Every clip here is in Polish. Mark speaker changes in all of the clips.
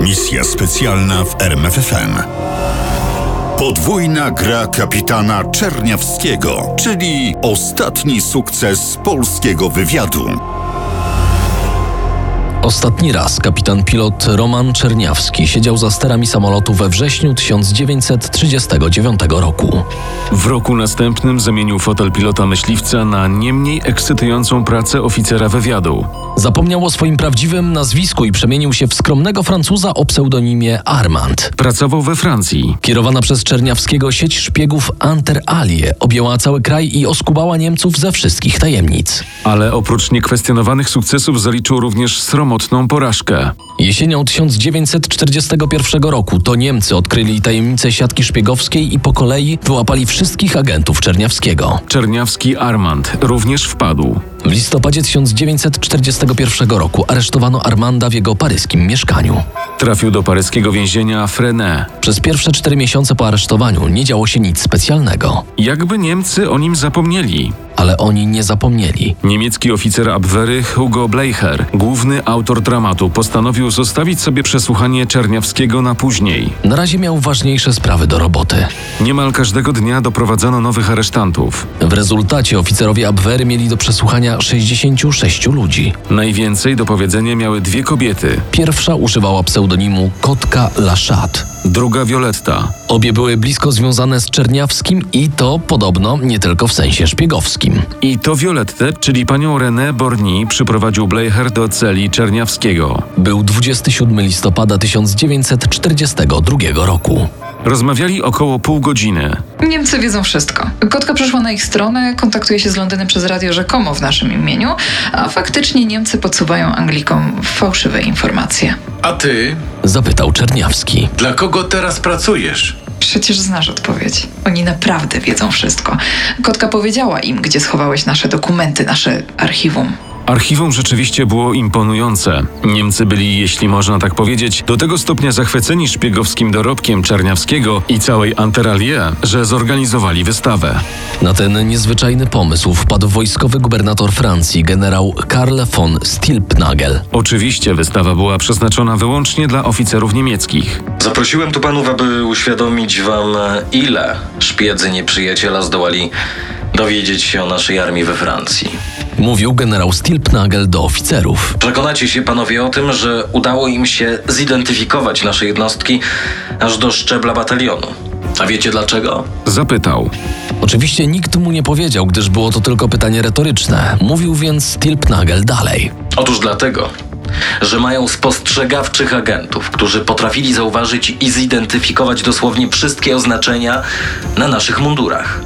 Speaker 1: Misja specjalna w RMFFM. Podwójna gra kapitana Czerniawskiego, czyli ostatni sukces polskiego wywiadu.
Speaker 2: Ostatni raz kapitan pilot Roman Czerniawski siedział za sterami samolotu we wrześniu 1939 roku.
Speaker 3: W roku następnym zamienił fotel pilota myśliwca na nie mniej ekscytującą pracę oficera wywiadu.
Speaker 2: Zapomniał o swoim prawdziwym nazwisku i przemienił się w skromnego Francuza o pseudonimie Armand.
Speaker 3: Pracował we Francji.
Speaker 2: Kierowana przez Czerniawskiego sieć szpiegów Anter Alie objęła cały kraj i oskubała Niemców ze wszystkich tajemnic.
Speaker 3: Ale oprócz niekwestionowanych sukcesów zaliczył również sromotną porażkę.
Speaker 2: Jesienią 1941 roku to Niemcy odkryli tajemnice siatki szpiegowskiej i po kolei wyłapali wszystkich agentów Czerniawskiego.
Speaker 3: Czerniawski Armand również wpadł.
Speaker 2: W listopadzie 1941 roku aresztowano Armanda w jego paryskim mieszkaniu.
Speaker 3: Trafił do paryskiego więzienia Frenet.
Speaker 2: Przez pierwsze cztery miesiące po aresztowaniu nie działo się nic specjalnego,
Speaker 3: Jakby Niemcy o nim zapomnieli.
Speaker 2: ale oni nie zapomnieli.
Speaker 3: Niemiecki oficer Abwehry Hugo Bleicher, główny autor dramatu, postanowił zostawić sobie przesłuchanie Czerniawskiego na później.
Speaker 2: Na razie miał ważniejsze sprawy do roboty.
Speaker 3: Niemal każdego dnia doprowadzano nowych aresztantów.
Speaker 2: W rezultacie oficerowie Abwery mieli do przesłuchania 66 ludzi.
Speaker 3: Najwięcej do powiedzenia miały dwie kobiety,
Speaker 2: Pierwsza używała pseudonimu Kotka Laszat.
Speaker 3: druga Violetta.
Speaker 2: Obie były blisko związane z Czerniawskim i to podobno nie tylko w sensie szpiegowskim.
Speaker 3: I to Violettę, czyli panią René Borny, przyprowadził Bleicher do celi Czerniawskiego.
Speaker 2: Był 27 listopada 1942 roku.
Speaker 3: Rozmawiali około pół godziny.
Speaker 4: Niemcy wiedzą wszystko. Kotka przeszła na ich stronę, kontaktuje się z Londynem przez radio rzekomo w naszym imieniu, a faktycznie Niemcy podsuwają Anglikom fałszywe informacje.
Speaker 5: A ty?
Speaker 2: Zapytał Czerniawski.
Speaker 5: Dla kogo teraz pracujesz?
Speaker 4: Przecież znasz odpowiedź. Oni naprawdę wiedzą wszystko. Kotka powiedziała im, gdzie schowałeś nasze dokumenty, nasze archiwum.
Speaker 3: Archiwum rzeczywiście było imponujące. Niemcy byli, jeśli można tak powiedzieć, do tego stopnia zachwyceni szpiegowskim dorobkiem Czerniawskiego i całej Anteralie, że zorganizowali wystawę.
Speaker 2: Na ten niezwyczajny pomysł wpadł wojskowy gubernator Francji, generał Karl von Stilpnagel.
Speaker 3: Oczywiście wystawa była przeznaczona wyłącznie dla oficerów niemieckich.
Speaker 6: Zaprosiłem tu panów, aby uświadomić wam, ile szpiedzy nieprzyjaciela zdołali dowiedzieć się o naszej armii we Francji.
Speaker 2: Mówił generał Stilpnagel do oficerów.
Speaker 6: Przekonacie się panowie o tym, że udało im się zidentyfikować nasze jednostki aż do szczebla batalionu. A wiecie dlaczego?
Speaker 3: Zapytał.
Speaker 2: Oczywiście nikt mu nie powiedział, gdyż było to tylko pytanie retoryczne. Mówił więc Stilpnagel dalej.
Speaker 6: Otóż dlatego, że mają spostrzegawczych agentów, którzy potrafili zauważyć i zidentyfikować dosłownie wszystkie oznaczenia na naszych mundurach.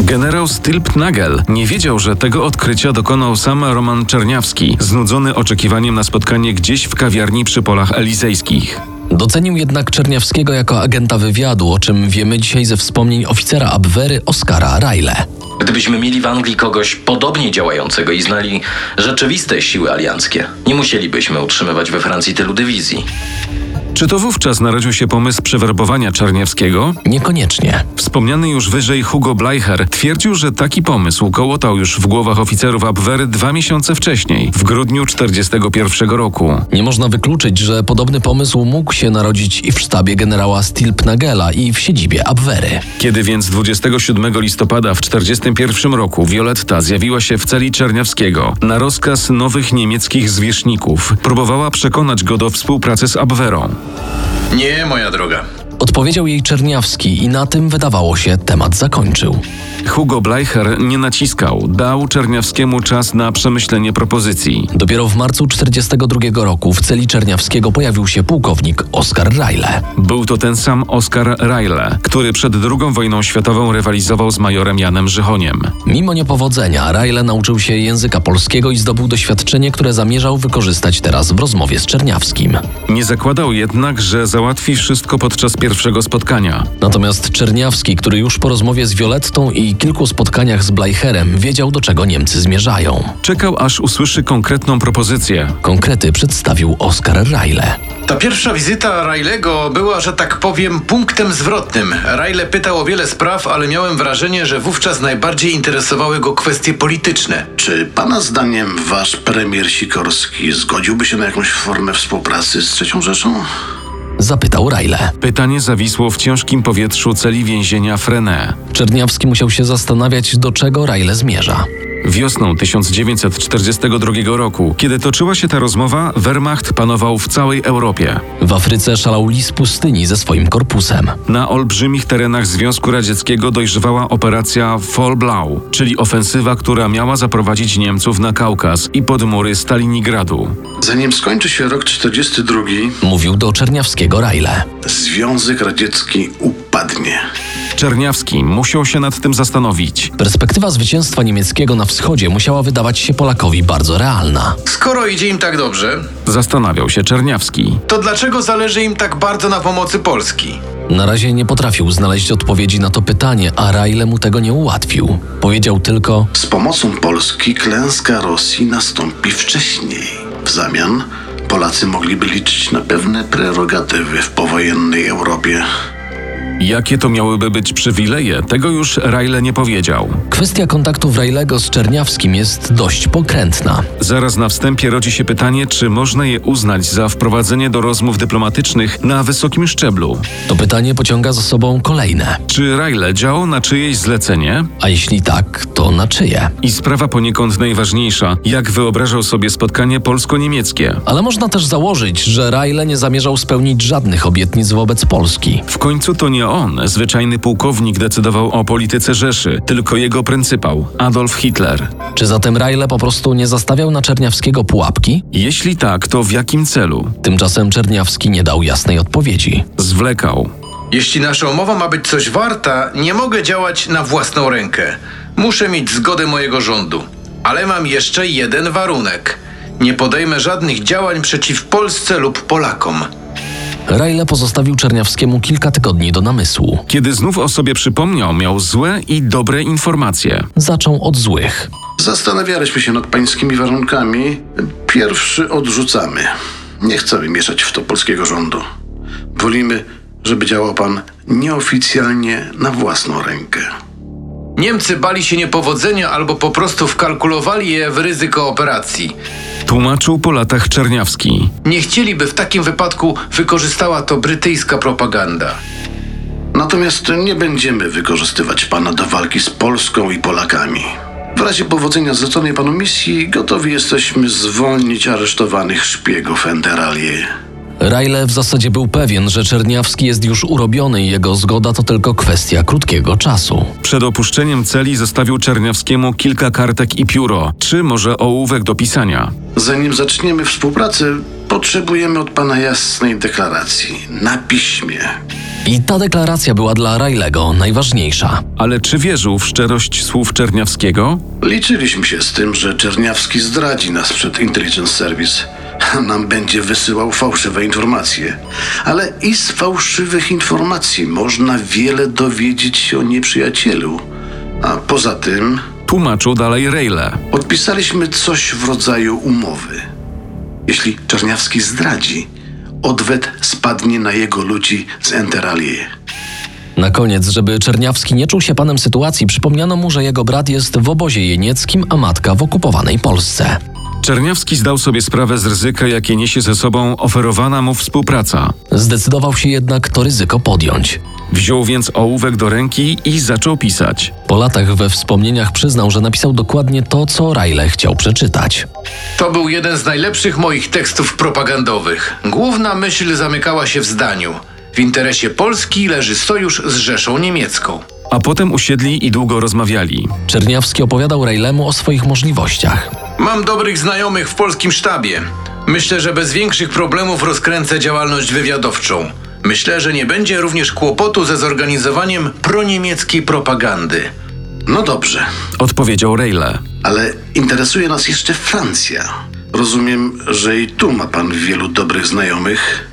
Speaker 3: Generał Stilpnagel nie wiedział, że tego odkrycia dokonał sam Roman Czerniawski, znudzony oczekiwaniem na spotkanie gdzieś w kawiarni przy Polach Elizejskich.
Speaker 2: Docenił jednak Czerniawskiego jako agenta wywiadu, o czym wiemy dzisiaj ze wspomnień oficera Abwery Oskara Rajle.
Speaker 6: Gdybyśmy mieli w Anglii kogoś podobnie działającego i znali rzeczywiste siły alianckie, nie musielibyśmy utrzymywać we Francji tylu dywizji.
Speaker 3: Czy to wówczas narodził się pomysł przewerbowania Czerniawskiego?
Speaker 2: Niekoniecznie.
Speaker 3: Wspomniany już wyżej Hugo Bleicher twierdził, że taki pomysł kołotał już w głowach oficerów Abwehry dwa miesiące wcześniej, w grudniu 1941 roku.
Speaker 2: Nie można wykluczyć, że podobny pomysł mógł się narodzić i w sztabie generała Stilpnagela i w siedzibie Abwery.
Speaker 3: Kiedy więc 27 listopada w 1941 roku Violetta zjawiła się w celi Czerniawskiego na rozkaz nowych niemieckich zwierzchników, próbowała przekonać go do współpracy z Abwehrą.
Speaker 5: Nie, moja droga.
Speaker 2: Odpowiedział jej Czerniawski i na tym wydawało się temat zakończył.
Speaker 3: Hugo Bleicher nie naciskał, dał Czerniawskiemu czas na przemyślenie propozycji.
Speaker 2: Dopiero w marcu 1942 roku w celi Czerniawskiego pojawił się pułkownik Oskar Rajle.
Speaker 3: Był to ten sam Oskar Rajle, który przed II wojną światową rywalizował z majorem Janem Żychoniem.
Speaker 2: Mimo niepowodzenia, Rajle nauczył się języka polskiego i zdobył doświadczenie, które zamierzał wykorzystać teraz w rozmowie z Czerniawskim.
Speaker 3: Nie zakładał jednak, że załatwi wszystko podczas pierwszego spotkania.
Speaker 2: Natomiast Czerniawski, który już po rozmowie z Violettą i kilku spotkaniach z Bleicherem wiedział, do czego Niemcy zmierzają.
Speaker 3: Czekał, aż usłyszy konkretną propozycję.
Speaker 2: Konkrety przedstawił Oskar Rajle.
Speaker 5: Ta pierwsza wizyta Rajlego była, że tak powiem, punktem zwrotnym. Rajle pytał o wiele spraw, ale miałem wrażenie, że wówczas najbardziej interesowały go kwestie polityczne.
Speaker 7: Czy pana zdaniem wasz premier Sikorski zgodziłby się na jakąś formę współpracy z Trzecią Rzeszą?
Speaker 2: Zapytał Rajle.
Speaker 3: Pytanie zawisło w ciężkim powietrzu celi więzienia Frenet.
Speaker 2: Czerniawski musiał się zastanawiać, do czego Rajle zmierza.
Speaker 3: Wiosną 1942 roku, kiedy toczyła się ta rozmowa, Wehrmacht panował w całej Europie.
Speaker 2: W Afryce szalał lis pustyni ze swoim korpusem.
Speaker 3: Na olbrzymich terenach Związku Radzieckiego dojrzewała operacja Fall Blau, czyli ofensywa, która miała zaprowadzić Niemców na Kaukaz i pod mury Stalinigradu.
Speaker 7: Zanim skończy się rok 42,
Speaker 2: Mówił do Czerniawskiego Rajle.
Speaker 7: Związek Radziecki upadnie.
Speaker 3: Czerniawski musiał się nad tym zastanowić.
Speaker 2: Perspektywa zwycięstwa niemieckiego na wschodzie musiała wydawać się Polakowi bardzo realna.
Speaker 5: Skoro idzie im tak dobrze,
Speaker 3: Zastanawiał się Czerniawski.
Speaker 5: to dlaczego zależy im tak bardzo na pomocy Polski?
Speaker 2: Na razie nie potrafił znaleźć odpowiedzi na to pytanie, a Rajle mu tego nie ułatwił. Powiedział tylko:
Speaker 7: Z pomocą Polski klęska Rosji nastąpi wcześniej. W zamian Polacy mogliby liczyć na pewne prerogatywy w powojennej Europie.
Speaker 3: Jakie to miałyby być przywileje, tego już Rajle nie powiedział.
Speaker 2: Kwestia kontaktów Rajlego z Czerniawskim jest dość pokrętna.
Speaker 3: Zaraz na wstępie rodzi się pytanie, czy można je uznać za wprowadzenie do rozmów dyplomatycznych na wysokim szczeblu.
Speaker 2: To pytanie pociąga za sobą kolejne.
Speaker 3: Czy Rajle działał na czyjeś zlecenie?
Speaker 2: A jeśli tak, to na czyje?
Speaker 3: I sprawa poniekąd najważniejsza, jak wyobrażał sobie spotkanie polsko-niemieckie.
Speaker 2: Ale można też założyć, że Rajle nie zamierzał spełnić żadnych obietnic wobec Polski.
Speaker 3: W końcu to nie on, zwyczajny pułkownik, decydował o polityce Rzeszy, tylko jego pryncypał, Adolf Hitler.
Speaker 2: Czy zatem Rajle po prostu nie zastawiał na Czerniawskiego pułapki?
Speaker 3: Jeśli tak, to w jakim celu?
Speaker 2: Tymczasem Czerniawski nie dał jasnej odpowiedzi.
Speaker 3: Zwlekał.
Speaker 5: Jeśli nasza umowa ma być coś warta, nie mogę działać na własną rękę. Muszę mieć zgodę mojego rządu. Ale mam jeszcze jeden warunek. Nie podejmę żadnych działań przeciw Polsce lub Polakom.
Speaker 2: Rajle pozostawił Czerniawskiemu kilka tygodni do namysłu.
Speaker 3: Kiedy znów o sobie przypomniał, miał złe i dobre informacje.
Speaker 2: Zaczął od złych.
Speaker 7: Zastanawialiśmy się nad pańskimi warunkami. Pierwszy odrzucamy. Nie chcemy mieszać w to polskiego rządu. Wolimy, żeby działał pan nieoficjalnie na własną rękę.
Speaker 5: Niemcy bali się niepowodzenia albo po prostu wkalkulowali je w ryzyko operacji.
Speaker 3: Tłumaczył po latach Czerniawski.
Speaker 5: Nie chcieliby w takim wypadku wykorzystała to brytyjska propaganda.
Speaker 7: Natomiast nie będziemy wykorzystywać pana do walki z Polską i Polakami. W razie powodzenia zleconej panu misji gotowi jesteśmy zwolnić aresztowanych szpiegów Enteralier.
Speaker 2: Rajle w zasadzie był pewien, że Czerniawski jest już urobiony i jego zgoda to tylko kwestia krótkiego czasu.
Speaker 3: Przed opuszczeniem celi zostawił Czerniawskiemu kilka kartek i pióro, czy może ołówek do pisania.
Speaker 7: Zanim zaczniemy współpracę, potrzebujemy od pana jasnej deklaracji na piśmie.
Speaker 2: I ta deklaracja była dla Rajlego najważniejsza.
Speaker 3: Ale czy wierzył w szczerość słów Czerniawskiego?
Speaker 7: Liczyliśmy się z tym, że Czerniawski zdradzi nas przed Intelligence Service. Nam będzie wysyłał fałszywe informacje. Ale i z fałszywych informacji można wiele dowiedzieć się o nieprzyjacielu. A poza tym
Speaker 3: Tłumaczył dalej Rejle.
Speaker 7: podpisaliśmy coś w rodzaju umowy. Jeśli Czerniawski zdradzi, odwet spadnie na jego ludzi z Enteralie.
Speaker 2: Na koniec, żeby Czerniawski nie czuł się panem sytuacji, przypomniano mu, że jego brat jest w obozie jenieckim, a matka w okupowanej Polsce.
Speaker 3: Czerniawski zdał sobie sprawę z ryzyka, jakie niesie ze sobą oferowana mu współpraca.
Speaker 2: Zdecydował się jednak to ryzyko podjąć.
Speaker 3: Wziął więc ołówek do ręki i zaczął pisać.
Speaker 2: Po latach we wspomnieniach przyznał, że napisał dokładnie to, co Rajle chciał przeczytać.
Speaker 5: To był jeden z najlepszych moich tekstów propagandowych. Główna myśl zamykała się w zdaniu. W interesie Polski leży sojusz z Rzeszą Niemiecką.
Speaker 3: A potem usiedli i długo rozmawiali.
Speaker 2: Czerniawski opowiadał Rejlemu o swoich możliwościach.
Speaker 5: Mam dobrych znajomych w polskim sztabie. Myślę, że bez większych problemów rozkręcę działalność wywiadowczą. Myślę, że nie będzie również kłopotu ze zorganizowaniem proniemieckiej propagandy.
Speaker 7: No dobrze,
Speaker 3: Odpowiedział Rejle.
Speaker 7: ale interesuje nas jeszcze Francja. Rozumiem, że i tu ma pan wielu dobrych znajomych.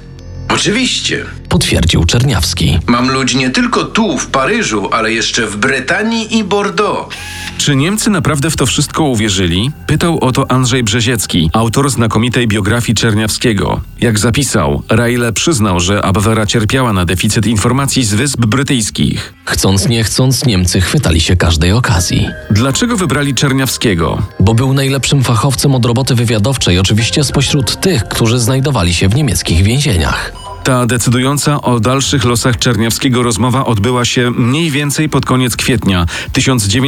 Speaker 5: Oczywiście.
Speaker 2: Potwierdził Czerniawski.
Speaker 5: Mam ludzi nie tylko tu, w Paryżu, ale jeszcze w Brytanii i Bordeaux.
Speaker 3: Czy Niemcy naprawdę w to wszystko uwierzyli? Pytał o to Andrzej Brzeziecki, autor znakomitej biografii Czerniawskiego. Jak zapisał, Rejle przyznał, że Abwera cierpiała na deficyt informacji z Wysp Brytyjskich.
Speaker 2: Chcąc nie chcąc, Niemcy chwytali się każdej okazji.
Speaker 3: Dlaczego wybrali Czerniawskiego?
Speaker 2: Bo był najlepszym fachowcem od roboty wywiadowczej, oczywiście spośród tych, którzy znajdowali się w niemieckich więzieniach.
Speaker 3: Ta decydująca o dalszych losach Czerniawskiego rozmowa odbyła się mniej więcej pod koniec kwietnia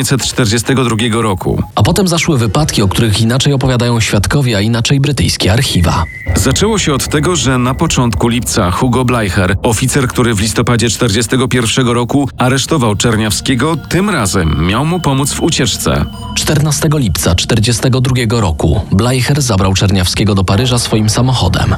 Speaker 3: 1942 roku.
Speaker 2: A potem zaszły wypadki, o których inaczej opowiadają świadkowie, a inaczej brytyjskie archiwa.
Speaker 3: Zaczęło się od tego, że na początku lipca Hugo Bleicher, oficer, który w listopadzie 1941 roku aresztował Czerniawskiego, tym razem miał mu pomóc w ucieczce.
Speaker 2: 14 lipca 1942 roku Bleicher zabrał Czerniawskiego do Paryża swoim samochodem.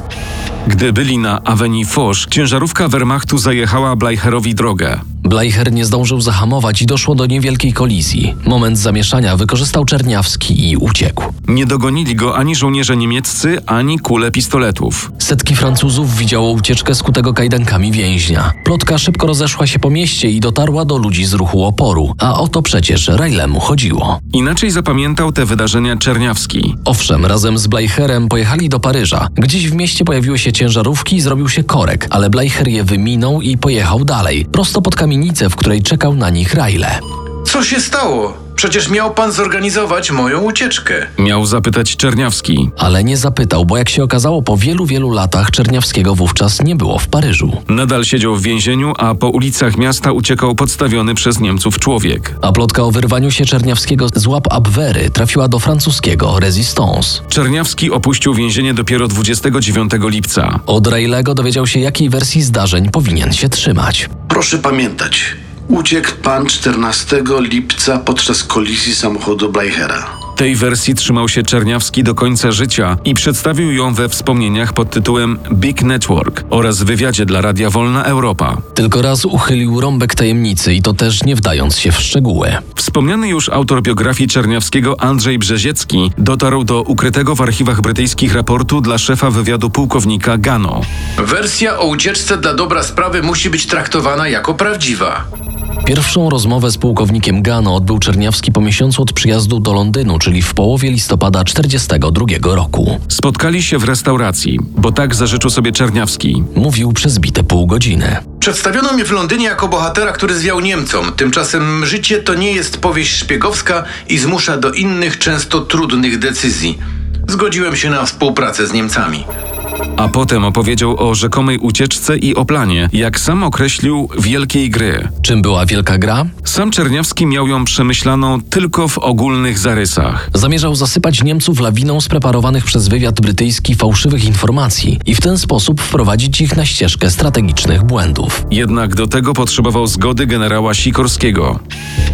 Speaker 3: Gdy byli na Avenue Foch, ciężarówka Wehrmachtu zajechała Bleicherowi drogę.
Speaker 2: Bleicher nie zdążył zahamować i doszło do niewielkiej kolizji. Moment zamieszania wykorzystał Czerniawski i uciekł.
Speaker 3: Nie dogonili go ani żołnierze niemieccy, ani kule pistoletów.
Speaker 2: Setki Francuzów widziało ucieczkę skutego kajdankami więźnia. Plotka szybko rozeszła się po mieście i dotarła do ludzi z ruchu oporu, a o to przecież Rejlemu chodziło.
Speaker 3: Inaczej zapamiętał te wydarzenia Czerniawski.
Speaker 2: Owszem, razem z Bleicherem pojechali do Paryża. Gdzieś w mieście pojawiły się ciężarówki i zrobił się korek, ale Bleicher je wyminął i pojechał dalej, prosto pod kamienicę, w której czekał na nich Rajle.
Speaker 5: Co się stało? Przecież miał pan zorganizować moją ucieczkę.
Speaker 3: Miał zapytać Czerniawski.
Speaker 2: Ale nie zapytał, bo jak się okazało, po wielu, wielu latach Czerniawskiego wówczas nie było w Paryżu.
Speaker 3: Nadal siedział w więzieniu, a po ulicach miasta uciekał podstawiony przez Niemców człowiek.
Speaker 2: A plotka o wyrwaniu się Czerniawskiego z łap Abwery trafiła do francuskiego Resistance.
Speaker 3: Czerniawski opuścił więzienie dopiero 29 lipca.
Speaker 2: Od Rejlego dowiedział się, jakiej wersji zdarzeń powinien się trzymać.
Speaker 7: Proszę pamiętać, uciekł pan 14 lipca podczas kolizji samochodu Bleichera.
Speaker 3: Tej wersji trzymał się Czerniawski do końca życia i przedstawił ją we wspomnieniach pod tytułem Big Network oraz w wywiadzie dla Radia Wolna Europa.
Speaker 2: Tylko raz uchylił rąbek tajemnicy i to też nie wdając się w szczegóły.
Speaker 3: Wspomniany już autor biografii Czerniawskiego Andrzej Brzeziecki dotarł do ukrytego w archiwach brytyjskich raportu dla szefa wywiadu pułkownika Gano.
Speaker 5: Wersja o ucieczce dla dobra sprawy musi być traktowana jako prawdziwa.
Speaker 2: Pierwszą rozmowę z pułkownikiem Gano odbył Czerniawski po miesiącu od przyjazdu do Londynu, czyli w połowie listopada 1942 roku.
Speaker 3: Spotkali się w restauracji, bo tak zażyczył sobie Czerniawski.
Speaker 2: Mówił przez bite pół godziny.
Speaker 5: Przedstawiono mnie w Londynie jako bohatera, który zwiał Niemcom. Tymczasem życie to nie jest powieść szpiegowska i zmusza do innych, często trudnych decyzji. Zgodziłem się na współpracę z Niemcami.
Speaker 3: A potem opowiedział o rzekomej ucieczce i o planie, jak sam określił, wielkiej gry.
Speaker 2: Czym była wielka gra?
Speaker 3: Sam Czerniawski miał ją przemyślaną tylko w ogólnych zarysach.
Speaker 2: Zamierzał zasypać Niemców lawiną spreparowanych przez wywiad brytyjski fałszywych informacji i w ten sposób wprowadzić ich na ścieżkę strategicznych błędów.
Speaker 3: Jednak do tego potrzebował zgody generała Sikorskiego.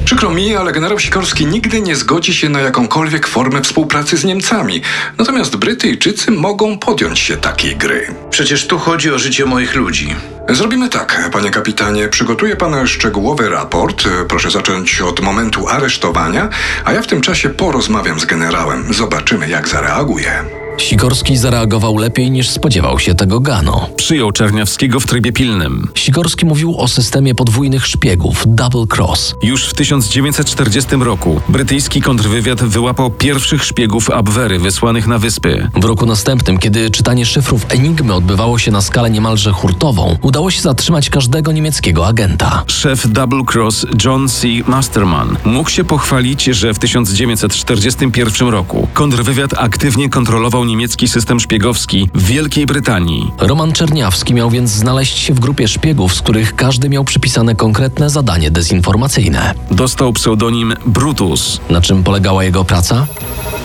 Speaker 8: Przykro mi, ale generał Sikorski nigdy nie zgodzi się na jakąkolwiek formę współpracy z Niemcami. Natomiast Brytyjczycy mogą podjąć się takiej gry.
Speaker 5: Przecież tu chodzi o życie moich ludzi.
Speaker 8: Zrobimy tak, panie kapitanie. Przygotuje pan szczegółowy raport. Proszę zacząć od momentu aresztowania, a ja w tym czasie porozmawiam z generałem. Zobaczymy, jak zareaguje.
Speaker 2: Sikorski zareagował lepiej niż spodziewał się tego Gano.
Speaker 3: Przyjął Czerniawskiego w trybie pilnym.
Speaker 2: Sikorski mówił o systemie podwójnych szpiegów, double cross.
Speaker 3: Już w 1940 roku brytyjski kontrwywiad wyłapał pierwszych szpiegów Abwery wysłanych na wyspy.
Speaker 2: W roku następnym, kiedy czytanie szyfrów Enigmy odbywało się na skalę niemalże hurtową, udało się zatrzymać każdego niemieckiego agenta.
Speaker 3: Szef Double Cross John C. Masterman mógł się pochwalić, że w 1941 roku kontrwywiad aktywnie kontrolował zaatakował niemiecki system szpiegowski w Wielkiej Brytanii.
Speaker 2: Roman Czerniawski miał więc znaleźć się w grupie szpiegów, z których każdy miał przypisane konkretne zadanie dezinformacyjne.
Speaker 3: Dostał pseudonim Brutus.
Speaker 2: Na czym polegała jego praca?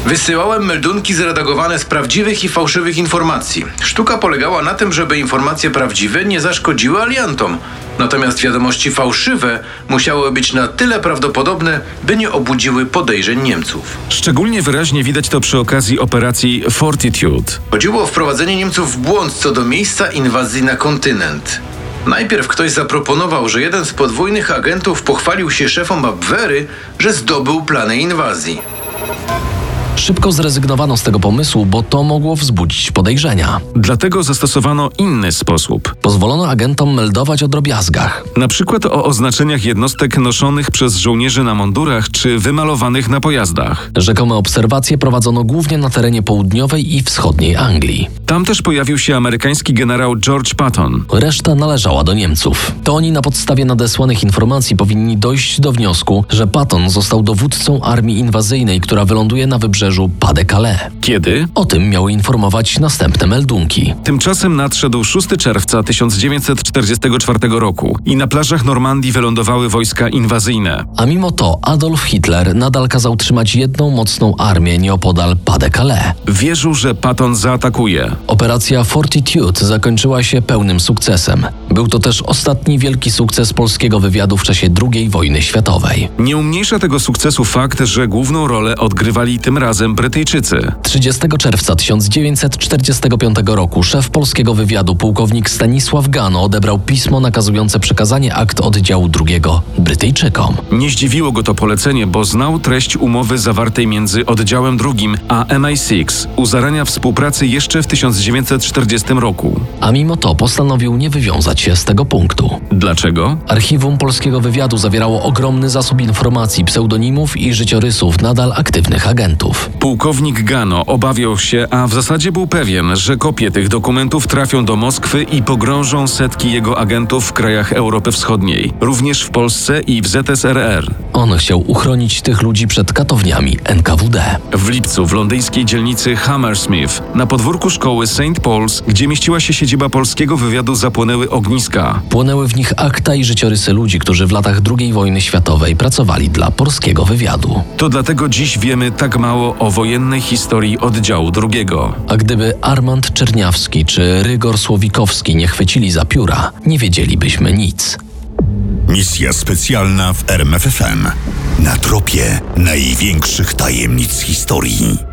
Speaker 5: Wysyłałem meldunki zredagowane z prawdziwych i fałszywych informacji. Sztuka polegała na tym, żeby informacje prawdziwe nie zaszkodziły aliantom. Natomiast wiadomości fałszywe musiały być na tyle prawdopodobne, by nie obudziły podejrzeń Niemców.
Speaker 3: Szczególnie wyraźnie widać to przy okazji operacji Fortitude.
Speaker 5: Chodziło o wprowadzenie Niemców w błąd co do miejsca inwazji na kontynent. Najpierw ktoś zaproponował, że jeden z podwójnych agentów pochwalił się szefom Abwehry, że zdobył plany inwazji.
Speaker 2: Szybko zrezygnowano z tego pomysłu, bo to mogło wzbudzić podejrzenia.
Speaker 3: Dlatego zastosowano inny sposób.
Speaker 2: Pozwolono agentom meldować o drobiazgach.
Speaker 3: Na przykład o oznaczeniach jednostek noszonych przez żołnierzy na mundurach czy wymalowanych na pojazdach.
Speaker 2: Rzekome obserwacje prowadzono głównie na terenie południowej i wschodniej Anglii.
Speaker 3: Tam też pojawił się amerykański generał George Patton.
Speaker 2: Reszta należała do Niemców. To oni na podstawie nadesłanych informacji powinni dojść do wniosku, że Patton został dowódcą armii inwazyjnej, która wyląduje na wybrzeżu Pas-de-Calais.
Speaker 3: Kiedy?
Speaker 2: O tym miały informować następne meldunki.
Speaker 3: Tymczasem nadszedł 6 czerwca 1944 roku i na plażach Normandii wylądowały wojska inwazyjne.
Speaker 2: A mimo to Adolf Hitler nadal kazał trzymać jedną mocną armię nieopodal Pas-de-Calais.
Speaker 3: Wierzył, że Patton zaatakuje.
Speaker 2: Operacja Fortitude zakończyła się pełnym sukcesem. Był to też ostatni wielki sukces polskiego wywiadu w czasie II wojny światowej.
Speaker 3: Nie umniejsza tego sukcesu fakt, że główną rolę odgrywali tym razem Brytyjczycy.
Speaker 2: 30 czerwca 1945 roku szef polskiego wywiadu pułkownik Stanisław Gano odebrał pismo nakazujące przekazanie akt oddziału II Brytyjczykom.
Speaker 3: Nie zdziwiło go to polecenie, bo znał treść umowy zawartej między oddziałem drugim a MI6 u zarania współpracy jeszcze w 1940 roku.
Speaker 2: A mimo to postanowił nie wywiązać się z tego punktu.
Speaker 3: Dlaczego?
Speaker 2: Archiwum polskiego wywiadu zawierało ogromny zasób informacji, pseudonimów i życiorysów nadal aktywnych agentów.
Speaker 3: Pułkownik Gano obawiał się, a w zasadzie był pewien, że kopie tych dokumentów trafią do Moskwy i pogrążą setki jego agentów w krajach Europy Wschodniej, również w Polsce i w ZSRR.
Speaker 2: On chciał uchronić tych ludzi przed katowniami NKWD.
Speaker 3: W lipcu w londyńskiej dzielnicy Hammersmith, na podwórku szkoły St. Paul's, gdzie mieściła się siedziba polskiego wywiadu, zapłonęły ogniska.
Speaker 2: Płonęły w nich akta i życiorysy ludzi, którzy w latach II wojny światowej pracowali dla polskiego wywiadu.
Speaker 3: To dlatego dziś wiemy tak mało o wojennej historii oddziału drugiego.
Speaker 2: A gdyby Armand Czerniawski czy Rygor Słowikowski nie chwycili za pióra, nie wiedzielibyśmy nic.
Speaker 1: Misja specjalna w RMFFM. Na tropie największych tajemnic historii.